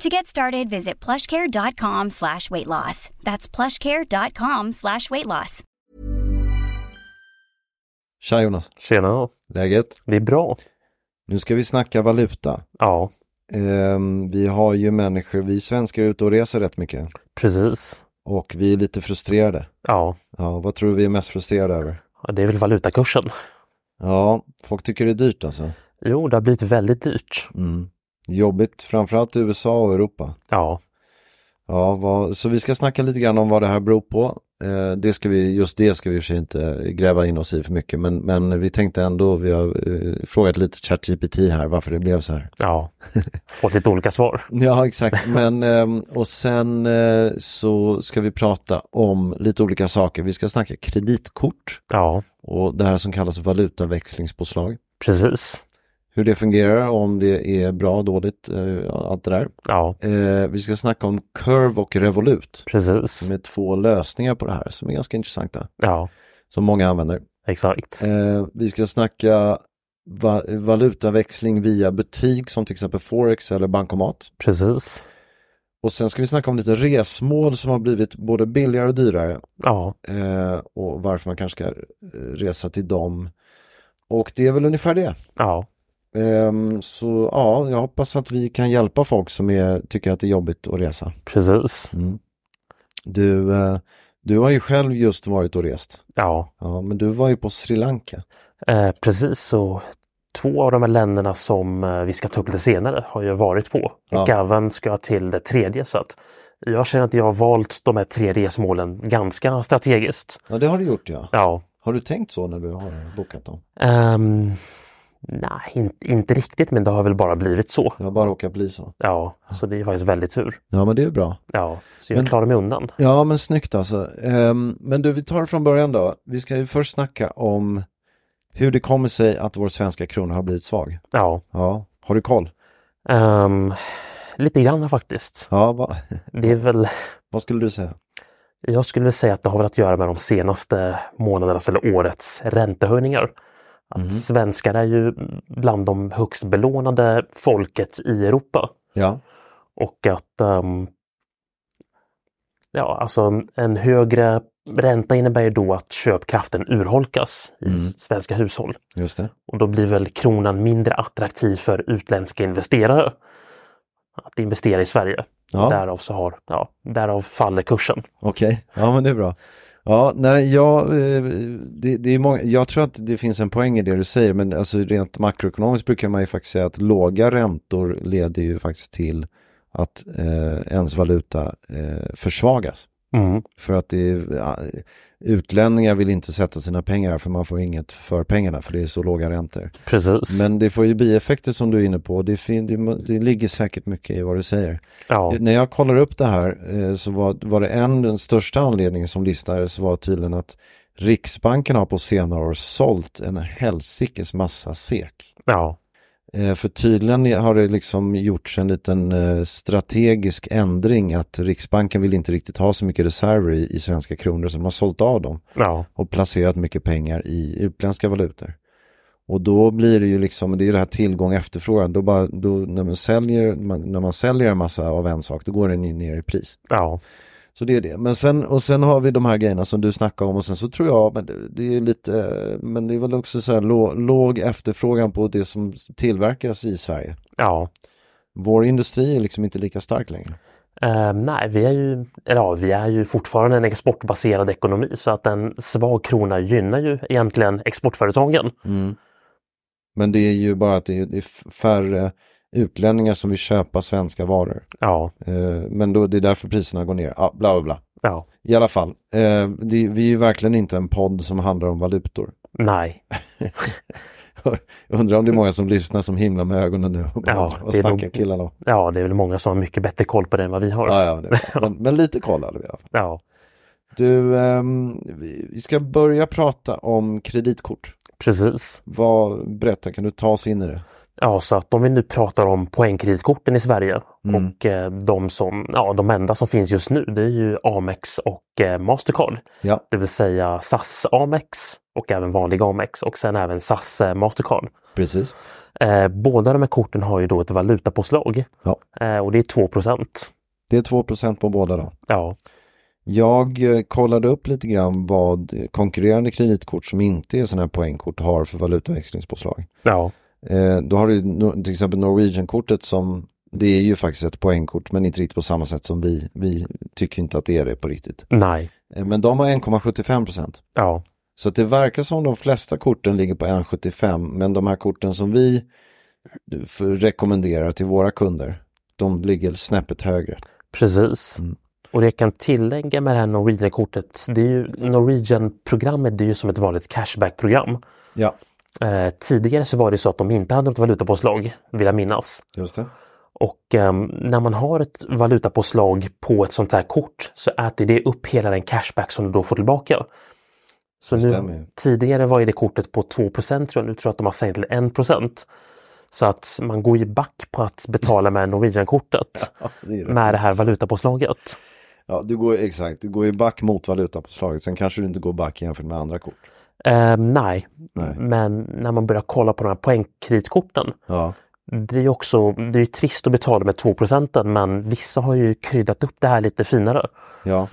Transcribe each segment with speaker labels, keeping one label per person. Speaker 1: To get started, visit plushcare.com slash weight loss. That's plushcare.com slash weight loss.
Speaker 2: Tja Jonas,
Speaker 3: Tjena,
Speaker 2: läget?
Speaker 3: det är bra.
Speaker 2: Nu ska vi snacka valuta.
Speaker 3: Ja,
Speaker 2: Ehm, vi har ju människor, vi svenskar är ute och reser rätt mycket
Speaker 3: precis.
Speaker 2: och vi är lite frustrerade.
Speaker 3: Ja,
Speaker 2: Ja, vad tror du vi är mest frustrerade över?
Speaker 3: Ja, det är väl valutakursen.
Speaker 2: Ja, folk tycker det är dyrt alltså.
Speaker 3: Jo, det har blivit väldigt dyrt.
Speaker 2: Mm. Jobbigt, framförallt i USA och Europa.
Speaker 3: Ja,
Speaker 2: Ja, vad, så vi ska snacka lite grann om vad det här beror på. Eh, det ska vi, just det ska vi i och för sig inte gräva in oss i för mycket, men, men vi tänkte ändå, vi har eh, frågat lite ChatGPT här varför det blev så här.
Speaker 3: ja. Fått lite olika svar.
Speaker 2: Ja, exakt. Men, ehm, och sen eh, så ska vi prata om lite olika saker. Vi ska snacka kreditkort
Speaker 3: Ja,
Speaker 2: och det här som kallas valutaväxlingspåslag.
Speaker 3: precis.
Speaker 2: Hur det fungerar, om det är bra, dåligt, eh, allt det där.
Speaker 3: Ja,
Speaker 2: Eh, vi ska snacka om Curve och Revolut
Speaker 3: precis.
Speaker 2: som är två lösningar på det här som är ganska intressanta,
Speaker 3: Ja,
Speaker 2: som många använder.
Speaker 3: exakt.
Speaker 2: Eh, vi ska snacka va- valutaväxling via butik som till exempel Forex eller bankomat.
Speaker 3: Precis.
Speaker 2: Och sen ska vi snacka om lite resmål som har blivit både billigare och dyrare
Speaker 3: Ja,
Speaker 2: eh, och varför man kanske ska eh, resa till dem. Och det är väl ungefär det.
Speaker 3: ja,
Speaker 2: Ehm, så ja, jag hoppas att vi kan hjälpa folk som är, tycker att det är jobbigt att resa.
Speaker 3: precis.
Speaker 2: Du, eh, du har ju själv just varit och rest.
Speaker 3: Ja,
Speaker 2: Ja, men du var ju på Sri Lanka.
Speaker 3: eh, precis. Så två av de här länderna som eh, vi ska ta upp lite senare har jag varit på. Och
Speaker 2: Ja.
Speaker 3: även ska jag till det tredje. Så att jag känner att jag har valt de här tre resmålen ganska strategiskt.
Speaker 2: Ja, det har du gjort ja.
Speaker 3: Ja,
Speaker 2: Har du tänkt så när du har bokat dem?
Speaker 3: Ehm, nej, in, inte riktigt, men det har väl bara blivit så.
Speaker 2: Det har bara råkat bli så.
Speaker 3: Ja, så det är faktiskt väldigt tur.
Speaker 2: Ja, men det är bra.
Speaker 3: Ja, så jag
Speaker 2: Men-
Speaker 3: klarar mig undan.
Speaker 2: Ja, men snyggt alltså. Ehm, men du, vi tar det från början då. Vi ska ju först snacka om hur det kommer sig att vår svenska krona har blivit svag.
Speaker 3: Ja,
Speaker 2: Ja, har du koll?
Speaker 3: ehm, lite grann faktiskt.
Speaker 2: Ja, va,
Speaker 3: Det är väl,
Speaker 2: vad skulle du säga?
Speaker 3: jag skulle säga att det har väl att göra med de senaste månadernas eller årets räntehöjningar. Att svenskar är ju bland de högst belånade folket i Europa.
Speaker 2: Ja,
Speaker 3: Och att ehm, ja, alltså en högre ränta innebär ju då att köpkraften urholkas i
Speaker 2: Mm.
Speaker 3: s- svenska hushåll.
Speaker 2: just det.
Speaker 3: Och då blir väl kronan mindre attraktiv för utländska investerare att investera i Sverige.
Speaker 2: Ja,
Speaker 3: Därav, så har, ja, därav faller kursen.
Speaker 2: okej. Ja, men det är bra. Ja, nej, jag, eh, det, det är många, jag tror att det finns en poäng i det du säger, men alltså rent makroekonomiskt brukar man ju faktiskt säga att låga räntor leder ju faktiskt till att eh, ens valuta eh, försvagas.
Speaker 3: Mm.
Speaker 2: För att det är, ja, utlänningar vill inte sätta sina pengar här för man får inget för pengarna för det är så låga räntor.
Speaker 3: Precis.
Speaker 2: Men det får ju bieffekter som du är inne på. Det, fin, det, må- det ligger säkert mycket i vad du säger.
Speaker 3: ja,
Speaker 2: När jag kollar upp det här eh, så var, var det en, den största anledningen som listades var tydligen att Riksbanken har på senare år sålt en helsikes massa SEK.
Speaker 3: ja,
Speaker 2: Eh, För tydligen har det liksom gjorts en liten eh, strategisk ändring att Riksbanken vill inte riktigt ha så mycket reserver i, i svenska kronor så de har sålt av dem
Speaker 3: Ja,
Speaker 2: och placerat mycket pengar i utländska valutor. Och då blir det ju liksom, det är ju det här tillgång och efterfrågan, då bara, då, när, man säljer, man, när man säljer en massa av en sak då går den ju ner i pris.
Speaker 3: ja,
Speaker 2: Så det är det. Men sen, och sen har vi de här grejerna som du snackar om och sen så tror jag, men det, det är lite, eh, men det är väl också så här lå, låg efterfrågan på det som tillverkas i Sverige.
Speaker 3: ja.
Speaker 2: Vår industri är liksom inte lika stark längre.
Speaker 3: Eh, nej, vi är, ju, eller ja, vi är ju fortfarande en exportbaserad ekonomi så att en svag krona gynnar ju egentligen exportföretagen.
Speaker 2: Men det är ju bara att det är, det är färre utlänningar som vill köpa svenska varor.
Speaker 3: Ja,
Speaker 2: Eh, Men då, det är därför priserna går ner. Ja, bla bla bla.
Speaker 3: ja,
Speaker 2: I alla fall, eh, det, vi är ju verkligen inte en podd som handlar om valutor.
Speaker 3: nej,
Speaker 2: Undrar om det är många som lyssnar som himlar med ögonen nu och,
Speaker 3: Ja,
Speaker 2: ja, och
Speaker 3: det är
Speaker 2: snackar
Speaker 3: nog-
Speaker 2: killarna.
Speaker 3: ja, det är väl många som har mycket bättre koll på det än vad vi har.
Speaker 2: Ja, ja, det är bra. men, men lite koll hade vi i alla fall.
Speaker 3: Ja,
Speaker 2: Du, ehm, vi vi ska börja prata om kreditkort.
Speaker 3: precis.
Speaker 2: Vad, berätta, kan du ta oss in i det?
Speaker 3: Ja, så att om vi nu pratar om poängkreditkorten i Sverige och eh, de som, ja, de enda som finns just nu, det är ju Amex och eh, Mastercard.
Speaker 2: Ja,
Speaker 3: Det vill säga SAS Amex och även vanliga Amex och sen även SAS eh, Mastercard.
Speaker 2: precis.
Speaker 3: Eh, båda de här korten har ju då ett valutapåslag
Speaker 2: Ja.
Speaker 3: eh, och det är 2
Speaker 2: Det är 2 på båda då.
Speaker 3: Ja,
Speaker 2: Jag eh, kollade upp lite grann vad konkurrerande kreditkort som inte är sådana här poängkort har för valutaväxlingspåslag.
Speaker 3: ja,
Speaker 2: Eh, då har du ju no- till exempel Norwegian-kortet som det är ju faktiskt ett poängkort men inte riktigt på samma sätt som vi. Vi tycker inte att det är det på riktigt.
Speaker 3: nej,
Speaker 2: Eh, Men de har 1,75 procent.
Speaker 3: ja,
Speaker 2: Så att det verkar som de flesta korten ligger på 1,75 men de här korten som vi eh, för- rekommenderar till våra kunder de ligger snäppet högre.
Speaker 3: precis.
Speaker 2: Mm.
Speaker 3: Och det jag kan tillägga med det här Norwegian-kortet, det är ju Norwegian-programmet, det är ju som ett vanligt cashback-program.
Speaker 2: Ja,
Speaker 3: Eh, tidigare så var det så att de inte hade något valutapåslag, vill jag minnas.
Speaker 2: just det.
Speaker 3: Och eh, när man har ett valutapåslag på ett sånt här kort så äter det upp hela den cashback som du då får tillbaka. Så
Speaker 2: Stämmer
Speaker 3: nu,
Speaker 2: ju.
Speaker 3: tidigare var ju det kortet på 2 tror jag, nu tror jag att de har sänkt till 1 Så att man går ju back på att betala med Norwegian-kortet
Speaker 2: det är rätt
Speaker 3: med det här
Speaker 2: intressant.
Speaker 3: valutapåslaget.
Speaker 2: Ja, du går, exakt, du går ju back mot valutapåslaget. Sen kanske du inte går back jämfört med andra kort.
Speaker 3: Eh, nej.
Speaker 2: Nej.
Speaker 3: men när man börjar kolla på de här poängkreditkorten
Speaker 2: Ja,
Speaker 3: Det är ju också det är ju trist att betala med 2 men vissa har ju kryddat upp det här lite finare.
Speaker 2: ja.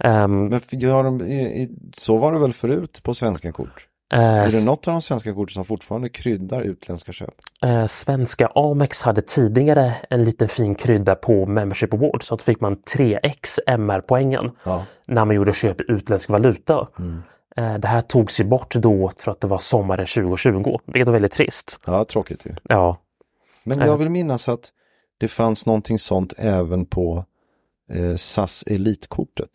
Speaker 3: Ehm,
Speaker 2: men f- gör de, i, i, så var det väl förut på svenska kort?
Speaker 3: eh,
Speaker 2: Är det något av de svenska korten som fortfarande kryddar utländska köp?
Speaker 3: eh, svenska Amex hade tidigare en liten fin krydda på Membership Award så att fick man 3x MR-poängen
Speaker 2: Ja.
Speaker 3: när man gjorde köp i utländsk valuta.
Speaker 2: Mm.
Speaker 3: Eh, det här togs ju bort då för att det var sommaren 2020, vilket var väldigt trist.
Speaker 2: Ja, tråkigt ju.
Speaker 3: Ja,
Speaker 2: Men jag vill minnas att det fanns någonting sånt även på eh, SAS Elitkortet.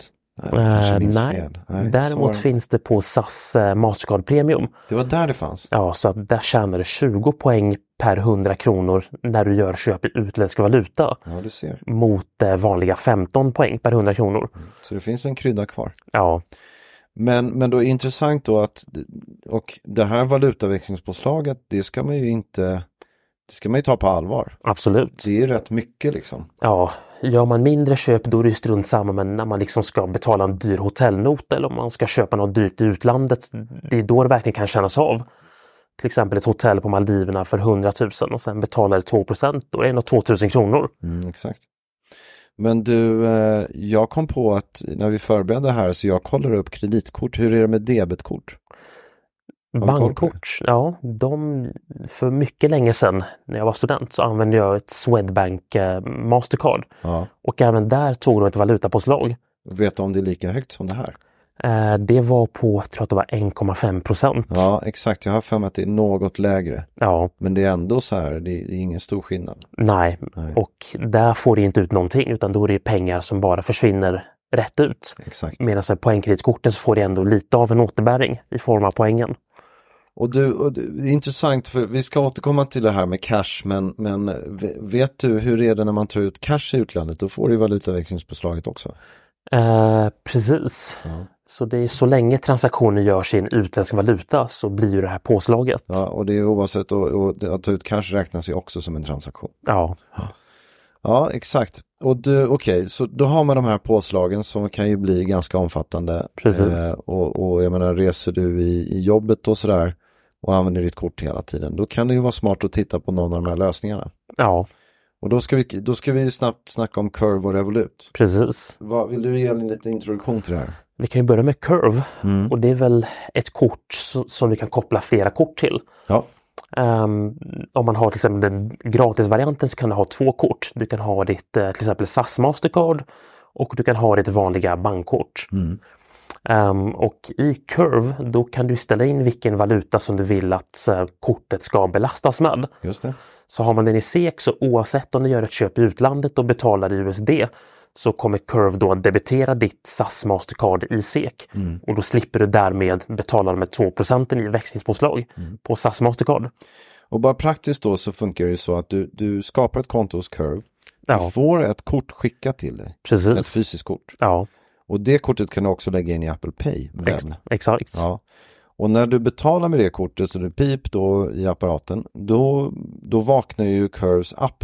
Speaker 2: Nej, jag kanske
Speaker 3: eh,
Speaker 2: minns
Speaker 3: nej.
Speaker 2: fel. Nej, så var
Speaker 3: Däremot
Speaker 2: det.
Speaker 3: finns det på SAS eh, Mastercard Premium.
Speaker 2: Det var där det fanns.
Speaker 3: Ja, så att där tjänar du 20 poäng per 100 kronor när du gör köp i utländsk valuta
Speaker 2: Ja, du ser.
Speaker 3: mot eh, vanliga 15 poäng per 100 kronor.
Speaker 2: Så det finns en krydda kvar.
Speaker 3: Ja,
Speaker 2: Men, men då är det intressant då att, och det här valutaväxlingspåslaget, det ska man ju inte, det ska man ju ta på allvar.
Speaker 3: absolut.
Speaker 2: Det är ju rätt mycket liksom.
Speaker 3: Ja, gör man mindre köp då är det ju strunt samma men när man liksom ska betala en dyr hotellnot eller om man ska köpa något dyrt i utlandet, det är då det verkligen kan kännas av. Till exempel ett hotell på Maldiverna för 100 000 och sen betalar du 2 då är det nog 2 000 kronor.
Speaker 2: Mm, exakt. Men du, eh, jag kom på att när vi förberedde här så jag kollar upp kreditkort, hur är det med debetkort? du koll på det?
Speaker 3: Bankkort, ja, de, för mycket länge sedan när jag var student så använde jag ett Swedbank eh, Mastercard
Speaker 2: Ja.
Speaker 3: och även där tog de ett valutapåslag.
Speaker 2: Vet du om det är lika högt som det här?
Speaker 3: Eh, det var på, jag tror att det var 1,5 procent.
Speaker 2: Ja, exakt. Jag har för mig att det är något lägre.
Speaker 3: Ja,
Speaker 2: Men det är ändå så här, det är, det är ingen stor skillnad.
Speaker 3: nej.
Speaker 2: Nej.
Speaker 3: och där får det inte ut någonting utan då är det ju pengar som bara försvinner rätt ut.
Speaker 2: Exakt.
Speaker 3: Medan med poängkreditkorten så får det ändå lite av en återbäring i form av poängen.
Speaker 2: Och du, och du, det är intressant för vi ska återkomma till det här med cash men, men v- vet du hur är det när man tar ut cash i utlandet? Då får du ju valutaväxlingspåslaget också.
Speaker 3: Eh, precis. Så det är så länge transaktioner görs i en utländsk valuta så blir ju det här påslaget.
Speaker 2: Ja, och det är oavsett, och, och det- att ta ut cash räknas ju också som en transaktion.
Speaker 3: Ja.
Speaker 2: Ja, exakt. Och du, okej, så då har man de här påslagen som kan ju bli ganska omfattande. Eh,
Speaker 3: Precis.
Speaker 2: och, och jag menar, reser du i, i jobbet och sådär och använder ditt kort hela tiden, då kan det ju vara smart att titta på någon av de här lösningarna.
Speaker 3: ja,
Speaker 2: Och då ska vi, då ska vi ju snabbt snacka om Curve och Revolut.
Speaker 3: precis.
Speaker 2: Vad, vill du ge en liten introduktion till det här?
Speaker 3: Vi kan ju börja med Curve och det är väl ett kort s- som vi kan koppla flera kort till.
Speaker 2: Ja,
Speaker 3: Ehm, om man har till exempel den gratisvarianten så kan du ha två kort. Du kan ha ditt eh, till exempel SAS Mastercard och du kan ha ditt vanliga bankkort. Ehm, och i Curve då kan du ställa in vilken valuta som du vill att eh, kortet ska belastas med.
Speaker 2: just det.
Speaker 3: Så har man den i SEK så oavsett om du gör ett köp i utlandet och betalar i USD så kommer Curve då att debitera ditt SAS Mastercard i SEK
Speaker 2: Mm.
Speaker 3: och då slipper du därmed betala med 2 i växlingspåslag
Speaker 2: Mm.
Speaker 3: på SAS Mastercard.
Speaker 2: Och bara praktiskt då så funkar det ju så att du, du skapar ett konto hos Curve. Du
Speaker 3: Ja,
Speaker 2: får ett kort skickat till dig, ett
Speaker 3: precis.
Speaker 2: fysiskt kort.
Speaker 3: Ja,
Speaker 2: Och det kortet kan du också lägga in i Apple Pay.
Speaker 3: ex
Speaker 2: väl?
Speaker 3: exakt. Ja.
Speaker 2: Ja. Och när du betalar med det kortet, så det pip då i apparaten, då, då vaknar ju Curves app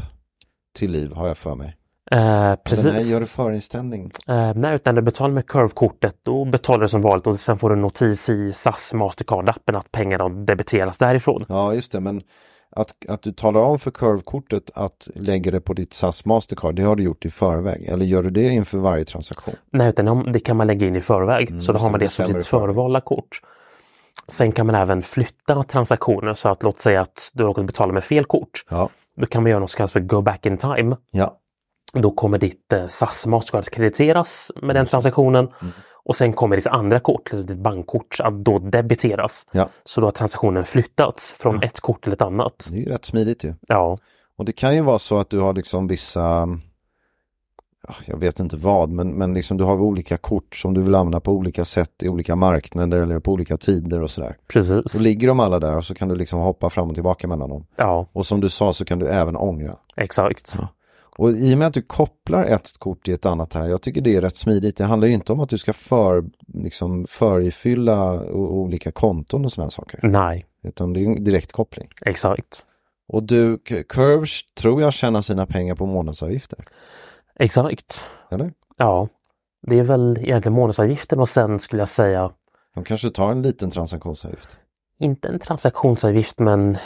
Speaker 2: till liv har jag för mig.
Speaker 3: Eh,
Speaker 2: Den här
Speaker 3: precis.
Speaker 2: gör du förinställning.
Speaker 3: Eh, nej, utan du betalar med Curve-kortet, då betalar du som vanligt och sen får du en notis i SAS Mastercard-appen att pengarna debiteras därifrån.
Speaker 2: Ja, just det, men att, att du talar om för Curve-kortet att lägga det på ditt SAS Mastercard, det har du gjort i förväg. Eller gör du det inför varje transaktion?
Speaker 3: Nej, utan om- det kan man lägga in i förväg. så då
Speaker 2: Mm, just
Speaker 3: har
Speaker 2: det,
Speaker 3: man
Speaker 2: det
Speaker 3: det som
Speaker 2: bestämmer
Speaker 3: sitt
Speaker 2: du förväg.
Speaker 3: förvalda kort. Sen kan man även flytta transaktioner så att låt säga att du har råkat betala med fel kort.
Speaker 2: Ja.
Speaker 3: Då kan man göra något som kallas för go back in time.
Speaker 2: Ja,
Speaker 3: Då kommer ditt eh, SAS Mastercard krediteras med den transaktionen
Speaker 2: Mm.
Speaker 3: och sen kommer ditt andra kort, alltså ditt bankkort, att då debiteras.
Speaker 2: ja.
Speaker 3: Så då har transaktionen flyttats från ett kort till ett annat.
Speaker 2: det är ju rätt smidigt ju.
Speaker 3: Ja,
Speaker 2: Och det kan ju vara så att du har liksom vissa, ja, jag vet inte vad, men, men liksom du har olika kort som du vill använda på olika sätt i olika marknader eller på olika tider och sådär. Då
Speaker 3: precis.
Speaker 2: ligger de alla där och så kan du liksom hoppa fram och tillbaka mellan dem.
Speaker 3: Ja,
Speaker 2: Och som du sa så kan du även ångra.
Speaker 3: exakt.
Speaker 2: Och i och med att du kopplar ett kort till ett annat här, jag tycker det är rätt smidigt. Det handlar ju inte om att du ska för, liksom, förifylla o- olika konton och sådana saker.
Speaker 3: Nej,
Speaker 2: Utan det är ju en direktkoppling.
Speaker 3: exakt.
Speaker 2: Och du, K- Curves tror jag tjänar sina pengar på månadsavgifter.
Speaker 3: Exakt.
Speaker 2: Eller?
Speaker 3: Ja, det är väl egentligen månadsavgiften och sen skulle jag säga,
Speaker 2: De kanske tar en liten transaktionsavgift.
Speaker 3: inte en transaktionsavgift men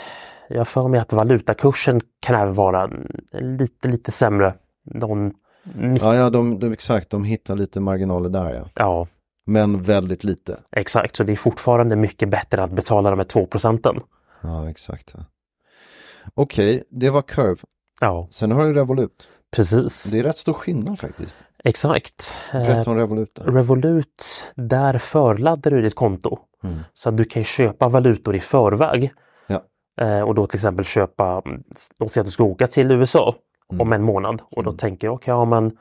Speaker 3: jag har för mig att valutakursen kan även vara lite, lite sämre. Någon, mitt,
Speaker 2: Ja, ja de, de, exakt, de hittar lite marginaler där ja.
Speaker 3: ja,
Speaker 2: Men väldigt lite.
Speaker 3: exakt. Så det är fortfarande mycket bättre att betala med 2 procenten.
Speaker 2: Ja, exakt. Ja. Okej, det var Curve.
Speaker 3: Ja,
Speaker 2: Sen har du Revolut.
Speaker 3: precis.
Speaker 2: Det är rätt stor skillnad faktiskt.
Speaker 3: Exakt. Eh,
Speaker 2: Berätta om Revolut. där.
Speaker 3: Revolut, där förladdar du ditt konto. Så att du kan köpa valutor i förväg.
Speaker 2: Ja.
Speaker 3: Eh, och då till exempel köpa, mm, låt säga att du ska åka till USA om en månad. Och då tänker jag, okej, ja, men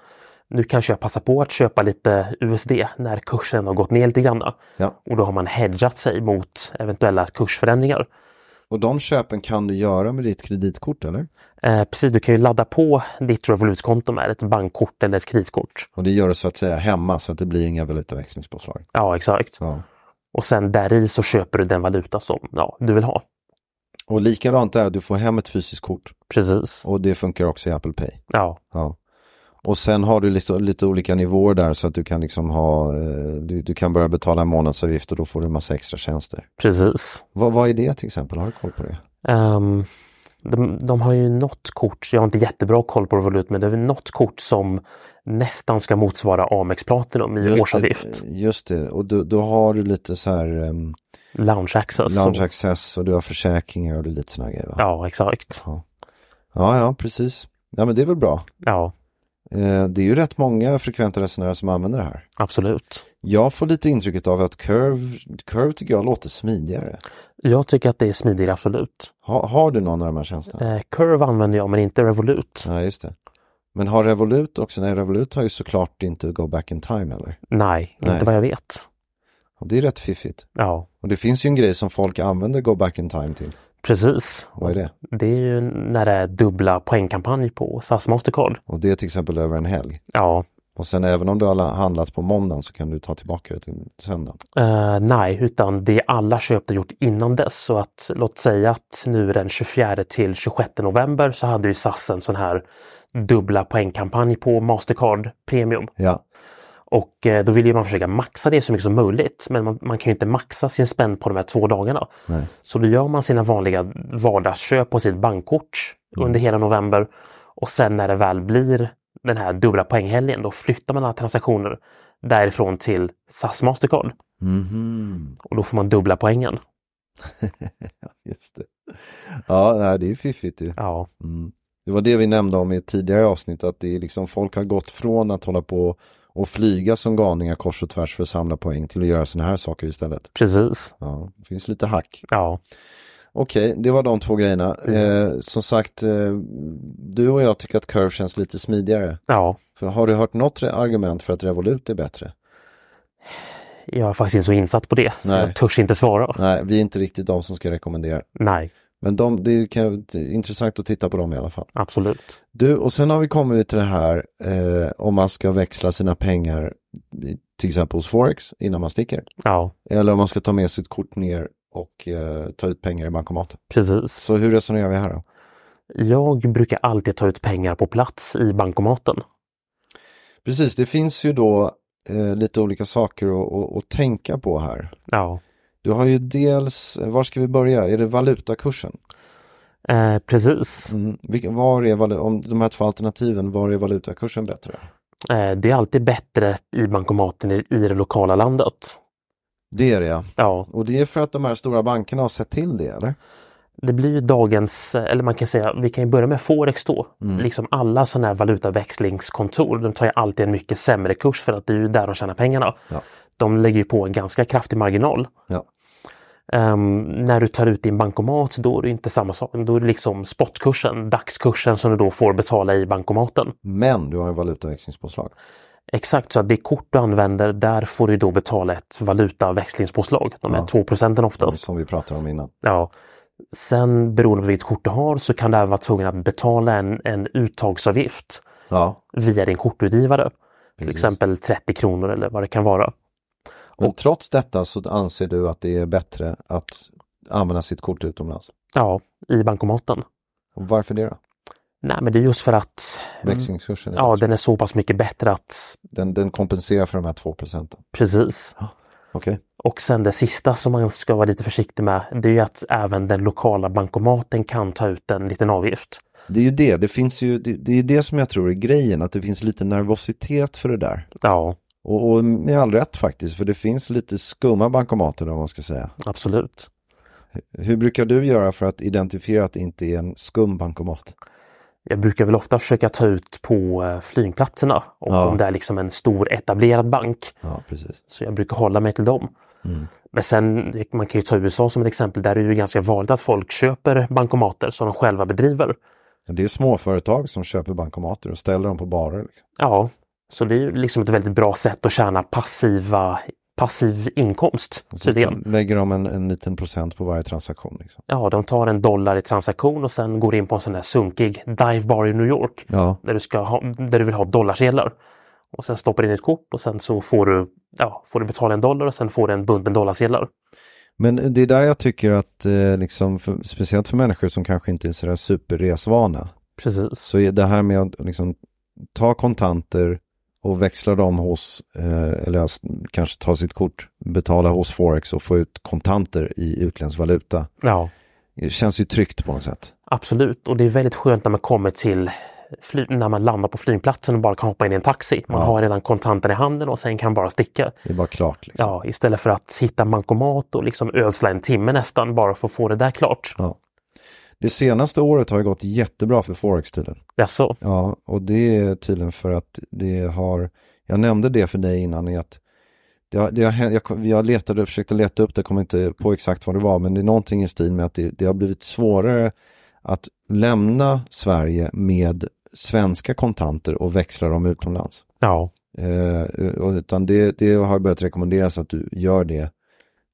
Speaker 3: nu kanske jag passar på att köpa lite USD när kursen har gått ner lite grann.
Speaker 2: Ja.
Speaker 3: Och då har man hedgat sig mot eventuella kursförändringar.
Speaker 2: Och de köpen kan du göra med ditt kreditkort eller?
Speaker 3: Eh, precis, du kan ju ladda på ditt Revolut-konto med ett bankkort eller ett kreditkort.
Speaker 2: Och det gör du så att säga hemma så att det blir inga valutaväxlingspåslag.
Speaker 3: Ja, exakt.
Speaker 2: Ja.
Speaker 3: Och sen där i så köper du den valuta som ja, du vill ha.
Speaker 2: Och likadant där, du får hem ett fysiskt kort
Speaker 3: Precis.
Speaker 2: och det funkar också i Apple Pay.
Speaker 3: Ja,
Speaker 2: Ja. Och sen har du lite, lite olika nivåer där så att du kan liksom ha, eh, du, du kan börja betala en månadsavgift och då får du en massa extra tjänster.
Speaker 3: precis.
Speaker 2: Vad, vad är det till exempel? Har du koll på det?
Speaker 3: Ehm, de, de har ju något kort, jag har inte jättebra koll på Revolut, men det är väl något kort som nästan ska motsvara Amex Platinum i årsavgift.
Speaker 2: det, Eh, just det, och då, då har du lite så här um,
Speaker 3: Lounge Access.
Speaker 2: lounge
Speaker 3: Så-
Speaker 2: access och du har försäkringar och det är lite sådana grejer va?
Speaker 3: Alltså. Ja, exakt.
Speaker 2: ja, ja, precis. Ja men det är väl bra.
Speaker 3: Ja,
Speaker 2: Eh, det är ju rätt många frekventa resenärer som använder det här.
Speaker 3: absolut.
Speaker 2: Jag får lite intrycket av att Curve, Curve tycker jag låter smidigare.
Speaker 3: Jag tycker att det är smidigare, absolut.
Speaker 2: Ha, har du någon av de här tjänsterna?
Speaker 3: Eh, Curve använder jag, men inte Revolut.
Speaker 2: Ja, just det. Men har Revolut också, nej Revolut har ju såklart inte Go Back In Time heller.
Speaker 3: Nej,
Speaker 2: Nej.
Speaker 3: inte vad jag vet.
Speaker 2: Och det är rätt fiffigt.
Speaker 3: Ja,
Speaker 2: Och det finns ju en grej som folk använder Go Back In Time till.
Speaker 3: precis.
Speaker 2: Vad är det?
Speaker 3: Det är ju när det är dubbla poängkampanj på SAS Mastercard.
Speaker 2: Och det är till exempel över en helg.
Speaker 3: Ja,
Speaker 2: Och sen även om du har handlat på måndagen så kan du ta tillbaka det till söndagen.
Speaker 3: Eh, nej, utan det är alla köp du gjort innan dess. Så att låt säga att nu den 24 till 26 november så hade ju SAS en sån här dubbla poängkampanj på Mastercard Premium.
Speaker 2: Ja,
Speaker 3: Och eh, då vill ju man försöka maxa det så mycket som möjligt. Men man, man kan ju inte maxa sin spänn på de här två dagarna.
Speaker 2: Nej.
Speaker 3: Så då gör man sina vanliga vardagsköp på sitt bankkort under hela november. Och sen när det väl blir den här dubbla poänghelgen, då flyttar man alla transaktioner därifrån till SAS Mastercard.
Speaker 2: Mhm.
Speaker 3: Och då får man dubbla poängen.
Speaker 2: just det. Ja, nej, det är ju fiffigt ju.
Speaker 3: Ja,
Speaker 2: Mm. Det var det vi nämnde om i ett tidigare avsnitt, att det är liksom folk har gått från att hålla på och flyga som galningar kors och tvärs för att samla poäng till att göra sådana här saker istället.
Speaker 3: precis.
Speaker 2: Ja, det finns lite hack.
Speaker 3: Ja,
Speaker 2: Okej, det var de två grejerna. Eh, som sagt, eh, du och jag tycker att Curve känns lite smidigare.
Speaker 3: ja.
Speaker 2: För har du hört något re- argument för att Revolut är bättre?
Speaker 3: Jag är faktiskt inte så insatt på det, så
Speaker 2: Nej.
Speaker 3: jag törs inte svara.
Speaker 2: Nej, vi är inte riktigt de som ska rekommendera.
Speaker 3: Nej,
Speaker 2: Men de, det, kan, det är intressant att titta på dem i alla fall.
Speaker 3: absolut.
Speaker 2: Du, och sen har vi kommit till det här eh, om man ska växla sina pengar i- till exempel hos Forex innan man sticker.
Speaker 3: Ja,
Speaker 2: Eller om man ska ta med sitt kort ner och eh, ta ut pengar i bankomaten.
Speaker 3: precis.
Speaker 2: Så hur resonerar vi här då?
Speaker 3: Jag brukar alltid ta ut pengar på plats i bankomaten.
Speaker 2: Precis, det finns ju då eh, lite olika saker att, att, att tänka på här.
Speaker 3: Ja,
Speaker 2: Du har ju dels, var ska vi börja? Är det valutakursen?
Speaker 3: eh, precis.
Speaker 2: Mm. Vilken- Var är, valu- om de här två alternativen, var är valutakursen bättre?
Speaker 3: Eh, det är alltid bättre i bankomaten i, i det lokala landet.
Speaker 2: Det är det ja.
Speaker 3: Ja,
Speaker 2: Och det är för att de här stora bankerna har sett till det eller?
Speaker 3: det blir ju dagens, eller man kan säga, vi kan ju börja med Forex då.
Speaker 2: Mm.
Speaker 3: Liksom alla sådana här valutaväxlingskontor, de tar ju alltid en mycket sämre kurs för att det är ju där de tjänar pengarna.
Speaker 2: Ja.
Speaker 3: De lägger ju på en ganska kraftig marginal.
Speaker 2: Ja.
Speaker 3: Ehm, när du tar ut din bankomat då är det inte samma sak. Då är det liksom spotkursen, dagskursen som du då får betala i bankomaten.
Speaker 2: Men du har en valutaväxlingspåslag.
Speaker 3: Exakt, så att det kort du använder där får du då betala ett valutaväxlingspåslag. De här
Speaker 2: Ja.
Speaker 3: 2 procenten oftast.
Speaker 2: Som vi pratade om innan.
Speaker 3: Ja. Sen beroende på vilket kort du har så kan du även vara tvungen att betala en, en uttagsavgift
Speaker 2: Ja,
Speaker 3: via din kortutgivare. Till
Speaker 2: Precis.
Speaker 3: exempel 30 kronor eller vad det kan vara.
Speaker 2: men trots detta så anser du att det är bättre att använda sitt kort utomlands.
Speaker 3: Ja, i bankomaten.
Speaker 2: Och varför det då?
Speaker 3: Nej, men det är just för att
Speaker 2: Mm. Växlingskursen, är
Speaker 3: ja,
Speaker 2: bättre.
Speaker 3: den är så pass mycket bättre att
Speaker 2: den, den kompenserar för de här två procenten.
Speaker 3: precis.
Speaker 2: Okej.
Speaker 3: Och sen det sista som man ska vara lite försiktig med, det är ju att även den lokala bankomaten kan ta ut en liten avgift.
Speaker 2: Det är ju det, det finns ju, det, det är det som jag tror är grejen, att det finns lite nervositet för det där.
Speaker 3: Ja,
Speaker 2: Och, och med all rätt faktiskt, för det finns lite skumma bankomater om man ska säga.
Speaker 3: absolut.
Speaker 2: Hur brukar du göra för att identifiera att det inte är en skum bankomat?
Speaker 3: Jag brukar väl ofta försöka ta ut på eh, flygplatserna och
Speaker 2: Ja.
Speaker 3: om det är liksom en stor etablerad bank.
Speaker 2: Ja, precis.
Speaker 3: Så jag brukar hålla mig till dem. Men sen, man kan ju ta USA som ett exempel, där är det ju ganska vanligt att folk köper bankomater som de själva bedriver.
Speaker 2: Det är småföretag som köper bankomater och ställer dem på barer. Liksom.
Speaker 3: Ja, så det är ju liksom ett väldigt bra sätt att tjäna passiva, passiv inkomst
Speaker 2: Så
Speaker 3: tydligen.
Speaker 2: lägger de en, en liten procent på varje transaktion. Liksom.
Speaker 3: Ja, de tar en dollar i transaktion och sen går in på en sån där sunkig dive bar i New York
Speaker 2: Ja.
Speaker 3: där du, ska ha, där du vill ha dollarsedlar. Och sen stoppar du in ett kort och sen så får du, ja, får du betala en dollar och sen får du en bunt med dollarsedlar.
Speaker 2: Men det är där jag tycker att, eh, liksom, för, speciellt för människor som kanske inte är sådär superresvana,
Speaker 3: Precis.
Speaker 2: så är det här med att liksom, ta kontanter och växla dem hos, eh, eller alltså, kanske ta sitt kort, betala hos Forex och få ut kontanter i utländsk valuta.
Speaker 3: Ja,
Speaker 2: Det känns ju tryggt på något sätt.
Speaker 3: absolut. Och det är väldigt skönt när man kommer till fly- när man landar på flygplatsen och bara kan hoppa in i en taxi. Man
Speaker 2: Ja.
Speaker 3: har redan kontanten i handen och sen kan man bara sticka.
Speaker 2: Det är bara klart. Liksom.
Speaker 3: Ja, istället för att hitta en bankomat och liksom ödsla en timme nästan bara för att få det där klart.
Speaker 2: Det senaste året har ju gått jättebra för Forex tydligen.
Speaker 3: Det är så.
Speaker 2: Ja, och det är tydligen för att det har, jag nämnde det för dig innan i att det har, det har, hänt- jag, kom- jag letade, försökte leta upp det, kom inte på exakt vad det var, men det är någonting i stil med att det, det har blivit svårare att lämna Sverige med svenska kontanter och växla dem utomlands.
Speaker 3: Ja,
Speaker 2: Eh, och- utan det, det har börjat rekommenderas att du gör det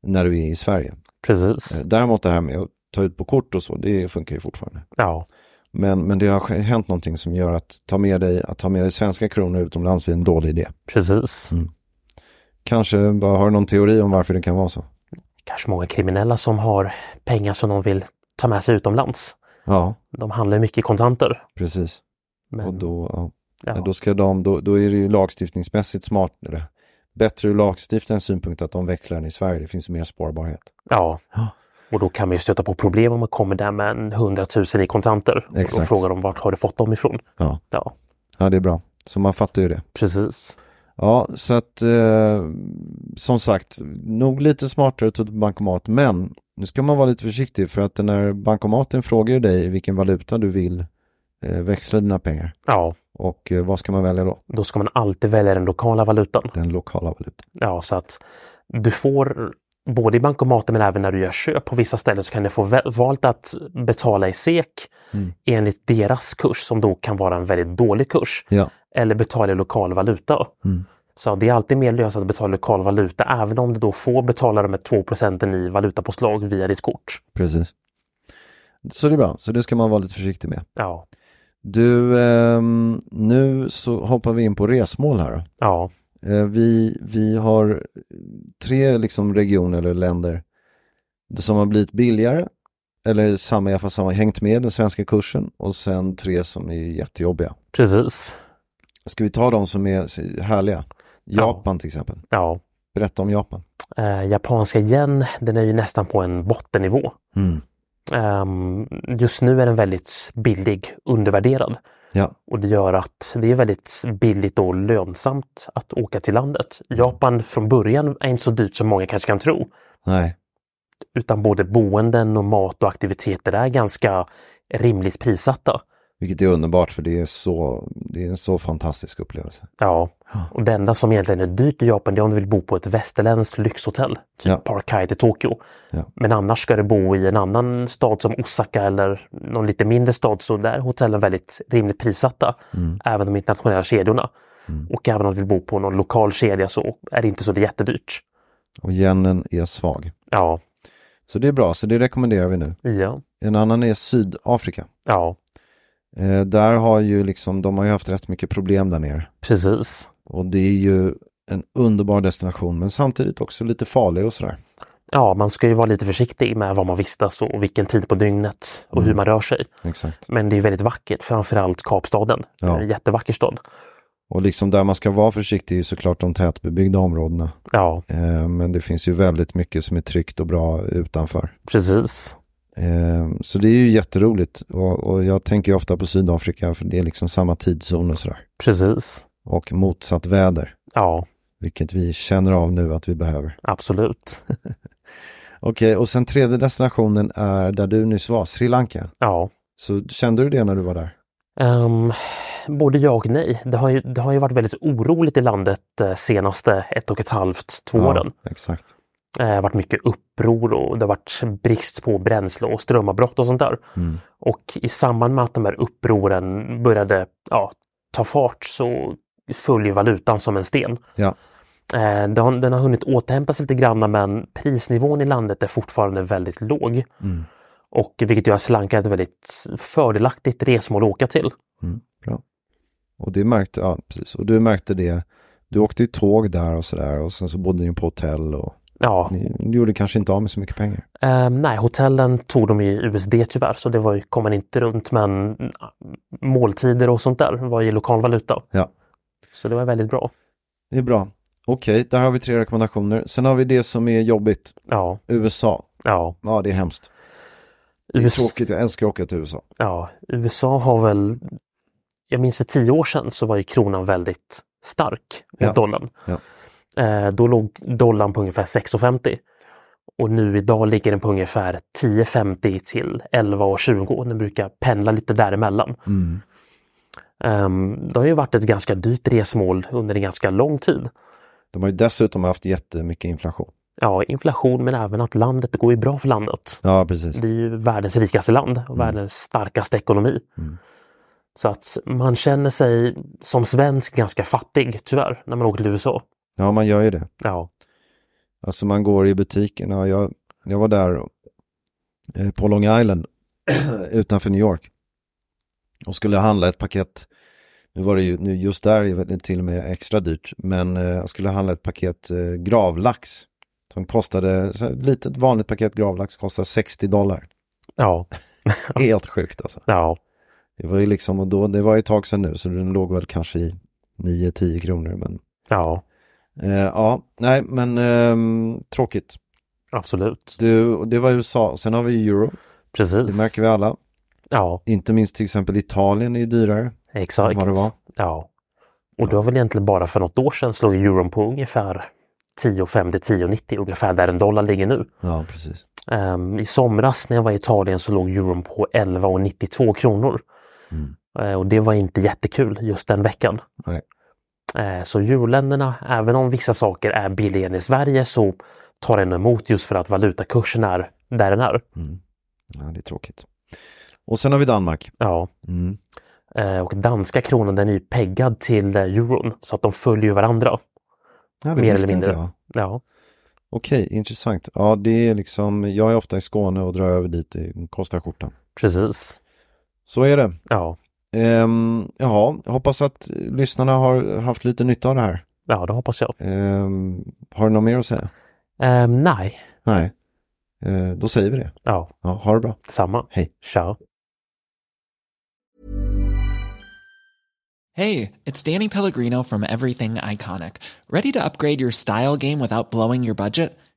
Speaker 2: när du är i Sverige.
Speaker 3: precis.
Speaker 2: Eh, Däremot det här med att ta ut på kort och så, det funkar ju fortfarande.
Speaker 3: Ja,
Speaker 2: Men, men det har sk- hänt någonting som gör att ta med dig, att ta med dig svenska kronor utomlands är en dålig idé.
Speaker 3: Precis.
Speaker 2: Kanske, bara, har du någon teori om varför det kan vara så?
Speaker 3: Kanske många kriminella som har pengar som de vill ta med sig utomlands.
Speaker 2: Ja,
Speaker 3: De handlar ju mycket i kontanter.
Speaker 2: precis.
Speaker 3: Men,
Speaker 2: Och då, ja.
Speaker 3: ja,
Speaker 2: Nej, Då, ska de, då, då är det ju lagstiftningsmässigt smartare. Bättre ur lagstiftarens synpunkt att de växlar den i Sverige. Det finns mer spårbarhet.
Speaker 3: ja.
Speaker 2: Ja.
Speaker 3: Och då kan man ju stöta på problem om man kommer där med en 100 000 i kontanter. Och då
Speaker 2: Exakt.
Speaker 3: frågar de vart har du fått dem ifrån?
Speaker 2: Ja.
Speaker 3: Ja,
Speaker 2: Ja, det är bra. Så man fattar ju det.
Speaker 3: precis.
Speaker 2: Ja, så att eh, som sagt, nog lite smartare att ta ut på bankomat. Men nu ska man vara lite försiktig för att den här bankomaten frågar ju dig i vilken valuta du vill eh, växla dina pengar.
Speaker 3: Ja,
Speaker 2: Och eh, vad ska man välja då?
Speaker 3: då ska man alltid välja den lokala valutan.
Speaker 2: Den lokala valutan.
Speaker 3: Ja, så att du får både i bankomaten men även när du gör köp på vissa ställen så kan du få vä- valt att betala i SEK
Speaker 2: Mm.
Speaker 3: enligt deras kurs som då kan vara en väldigt dålig kurs
Speaker 2: Ja,
Speaker 3: eller betala i lokal valuta.
Speaker 2: Mm.
Speaker 3: Så det är alltid mer lönsamt att betala i lokal valuta även om du då får betala de med 2 i valutapåslag via ditt kort.
Speaker 2: precis. Så det är bra, så det ska man vara lite försiktig med.
Speaker 3: Ja,
Speaker 2: Du, ehm, nu så hoppar vi in på resmål här då.
Speaker 3: ja,
Speaker 2: Eh, Vi, vi har tre liksom regioner eller länder som har blivit billigare eller samma, i alla fall samma, hängt med den svenska kursen och sen tre som är jättejobbiga.
Speaker 3: precis.
Speaker 2: Ska vi ta de som är härliga? Japan till exempel.
Speaker 3: Ja.
Speaker 2: Berätta om Japan.
Speaker 3: Eh, japanska yen, den är ju nästan på en bottennivå. Ehm, just nu är den väldigt billig, undervärderad.
Speaker 2: Ja,
Speaker 3: Och det gör att det är väldigt billigt och lönsamt att åka till landet. Japan från början är inte så dyrt som många kanske kan tro.
Speaker 2: nej,
Speaker 3: Utan både boenden och mat och aktiviteter är ganska rimligt prissatta.
Speaker 2: vilket är underbart för det är, så, det är en så fantastisk upplevelse.
Speaker 3: Ja, och det enda som egentligen är dyrt i Japan det är om du vill bo på ett västerländskt lyxhotell. Typ
Speaker 2: Ja.
Speaker 3: Park Hyatt i Tokyo.
Speaker 2: Ja.
Speaker 3: Men annars ska du bo i en annan stad som Osaka eller någon lite mindre stad så där är hotellen väldigt rimligt prissatta.
Speaker 2: Mm.
Speaker 3: Även de internationella kedjorna. Och även om du vill bo på någon lokal kedja så är det inte så jättedyrt.
Speaker 2: Och yenen är svag.
Speaker 3: Ja,
Speaker 2: Så det är bra, så det rekommenderar vi nu.
Speaker 3: ja,
Speaker 2: En annan är Sydafrika.
Speaker 3: ja,
Speaker 2: Eh, där har ju liksom, de har ju haft rätt mycket problem där nere.
Speaker 3: precis.
Speaker 2: Och det är ju en underbar destination men samtidigt också lite farlig och sådär.
Speaker 3: Ja, man ska ju vara lite försiktig med var man vistas och vilken tid på dygnet och hur
Speaker 2: Mm.
Speaker 3: man rör sig.
Speaker 2: Exakt.
Speaker 3: Men det är väldigt vackert, framförallt Kapstaden.
Speaker 2: Ja.
Speaker 3: En jättevacker stad.
Speaker 2: Och liksom där man ska vara försiktig är ju såklart de tätbebyggda områdena.
Speaker 3: Ja,
Speaker 2: Eh, men det finns ju väldigt mycket som är tryggt och bra utanför.
Speaker 3: precis.
Speaker 2: Eh, så det är ju jätteroligt och, och jag tänker ju ofta på Sydafrika för det är liksom samma tidszon och sådär.
Speaker 3: Precis.
Speaker 2: Och motsatt väder,
Speaker 3: Ja,
Speaker 2: vilket vi känner av nu att vi behöver.
Speaker 3: absolut.
Speaker 2: Okej, och sen tredje destinationen är där du nyss var, Sri Lanka.
Speaker 3: Ja.
Speaker 2: Så kände du det när du var där?
Speaker 3: Ehm, både ja och nej. Det har, ju, det har ju varit väldigt oroligt i landet eh, senaste ett och ett halvt, två åren.
Speaker 2: Ja, exakt.
Speaker 3: Eh, Det har varit mycket uppror och det har varit brist på bränsle och strömavbrott och sånt där.
Speaker 2: Mm.
Speaker 3: Och i samband med att de här upproren började ja, ta fart så föll ju valutan som en sten.
Speaker 2: Ja.
Speaker 3: Eh, Den har, den har hunnit återhämta sig lite grann men prisnivån i landet är fortfarande väldigt låg.
Speaker 2: Mm.
Speaker 3: Och vilket gör att Sri Lanka är ett väldigt fördelaktigt resmål att åka till.
Speaker 2: Mm, bra. Och det märkte, ja precis, och du märkte det. Du åkte ju tåg där och sådär och sen så bodde ni på hotell och
Speaker 3: Ja,
Speaker 2: ni, ni gjorde kanske inte av med så mycket pengar.
Speaker 3: eh, nej, hotellen tog de i USD tyvärr så det var ju, kom man inte runt men mm, måltider och sånt där var i lokal valuta.
Speaker 2: Ja.
Speaker 3: Så det var väldigt bra.
Speaker 2: Det är bra. Okej, där har vi tre rekommendationer. Sen har vi det som är jobbigt.
Speaker 3: Ja,
Speaker 2: USA.
Speaker 3: ja.
Speaker 2: Ja, det är hemskt. Det är
Speaker 3: US
Speaker 2: tråkigt, jag älskar att åka till USA.
Speaker 3: ja, USA har väl, jag minns för tio år sedan så var ju kronan väldigt stark mot
Speaker 2: Ja.
Speaker 3: dollarn.
Speaker 2: Ja.
Speaker 3: Eh, då låg dollarn på ungefär 6,50. Och nu idag ligger den på ungefär 10,50 till 11,20. Den brukar pendla lite däremellan.
Speaker 2: Mm.
Speaker 3: Um, det har ju varit ett ganska dyrt resmål under en ganska lång tid.
Speaker 2: De har ju dessutom haft jättemycket inflation.
Speaker 3: Ja, inflation men även att landet, det går ju bra för landet.
Speaker 2: Ja, precis.
Speaker 3: Det är ju världens rikaste land och världens starkaste ekonomi.
Speaker 2: Mm.
Speaker 3: Så att man känner sig som svensk ganska fattig, tyvärr, när man åker till USA.
Speaker 2: Ja, man gör ju det.
Speaker 3: Ja,
Speaker 2: Alltså man går i butikerna. Jag, jag var där eh, på Long Island utanför New York. och skulle handla ett paket, nu var det ju nu just där är det till och med extra dyrt, men eh, jag skulle handla ett paket eh, gravlax. Som kostade, så här, ett litet vanligt paket gravlax kostar 60 dollar.
Speaker 3: Ja,
Speaker 2: Helt sjukt alltså.
Speaker 3: ja,
Speaker 2: Det var ju liksom, och då, det var ju ett tag sedan nu så den låg väl kanske i 9-10 kronor. Men
Speaker 3: ja,
Speaker 2: eh, ja, nej men ehm, tråkigt.
Speaker 3: absolut.
Speaker 2: Du, och det var USA, sen har vi ju euro, det
Speaker 3: Precis.
Speaker 2: märker vi alla.
Speaker 3: Ja,
Speaker 2: Inte minst till exempel Italien är ju dyrare.
Speaker 3: exakt.
Speaker 2: Vad det var.
Speaker 3: Ja. Och det var väl egentligen bara för något år sedan slog euron på ungefär 10,50, 10,90 ungefär där en dollar ligger nu.
Speaker 2: Ja, precis.
Speaker 3: Ehm, I somras när jag var i Italien så låg euron på 11,92 kronor.
Speaker 2: Mm.
Speaker 3: Eh, och det var inte jättekul just den veckan.
Speaker 2: Nej.
Speaker 3: Eh, så euroländerna, även om vissa saker är billigare än i Sverige så tar den emot just för att valutakursen är där den är.
Speaker 2: Mm. Ja, det är tråkigt. Och sen har vi Danmark.
Speaker 3: Ja.
Speaker 2: Mm.
Speaker 3: Eh, och danska kronan den är ju peggad till eh, euron så att de följer ju varandra.
Speaker 2: Ja, det
Speaker 3: Mer
Speaker 2: visste
Speaker 3: eller
Speaker 2: inte
Speaker 3: mindre.
Speaker 2: jag.
Speaker 3: Ja,
Speaker 2: Okej, intressant. Ja, det är liksom, jag är ofta i Skåne och drar över dit, det kostar skjortan.
Speaker 3: precis.
Speaker 2: Så är det.
Speaker 3: Ja,
Speaker 2: Ehm, jaha, hoppas att lyssnarna har haft lite nytta av det här.
Speaker 3: ja det hoppas jag.
Speaker 2: Ehm, har du något mer att säga?
Speaker 3: Ehm, nej,
Speaker 2: Nej. Ehm, då säger vi det.
Speaker 3: ja,
Speaker 2: Ja, ha det bra.
Speaker 3: samma.
Speaker 2: Hej.
Speaker 3: Ciao.
Speaker 4: Hey, it's Danny Pellegrino from Everything Iconic. Ready to upgrade your style game without blowing your budget?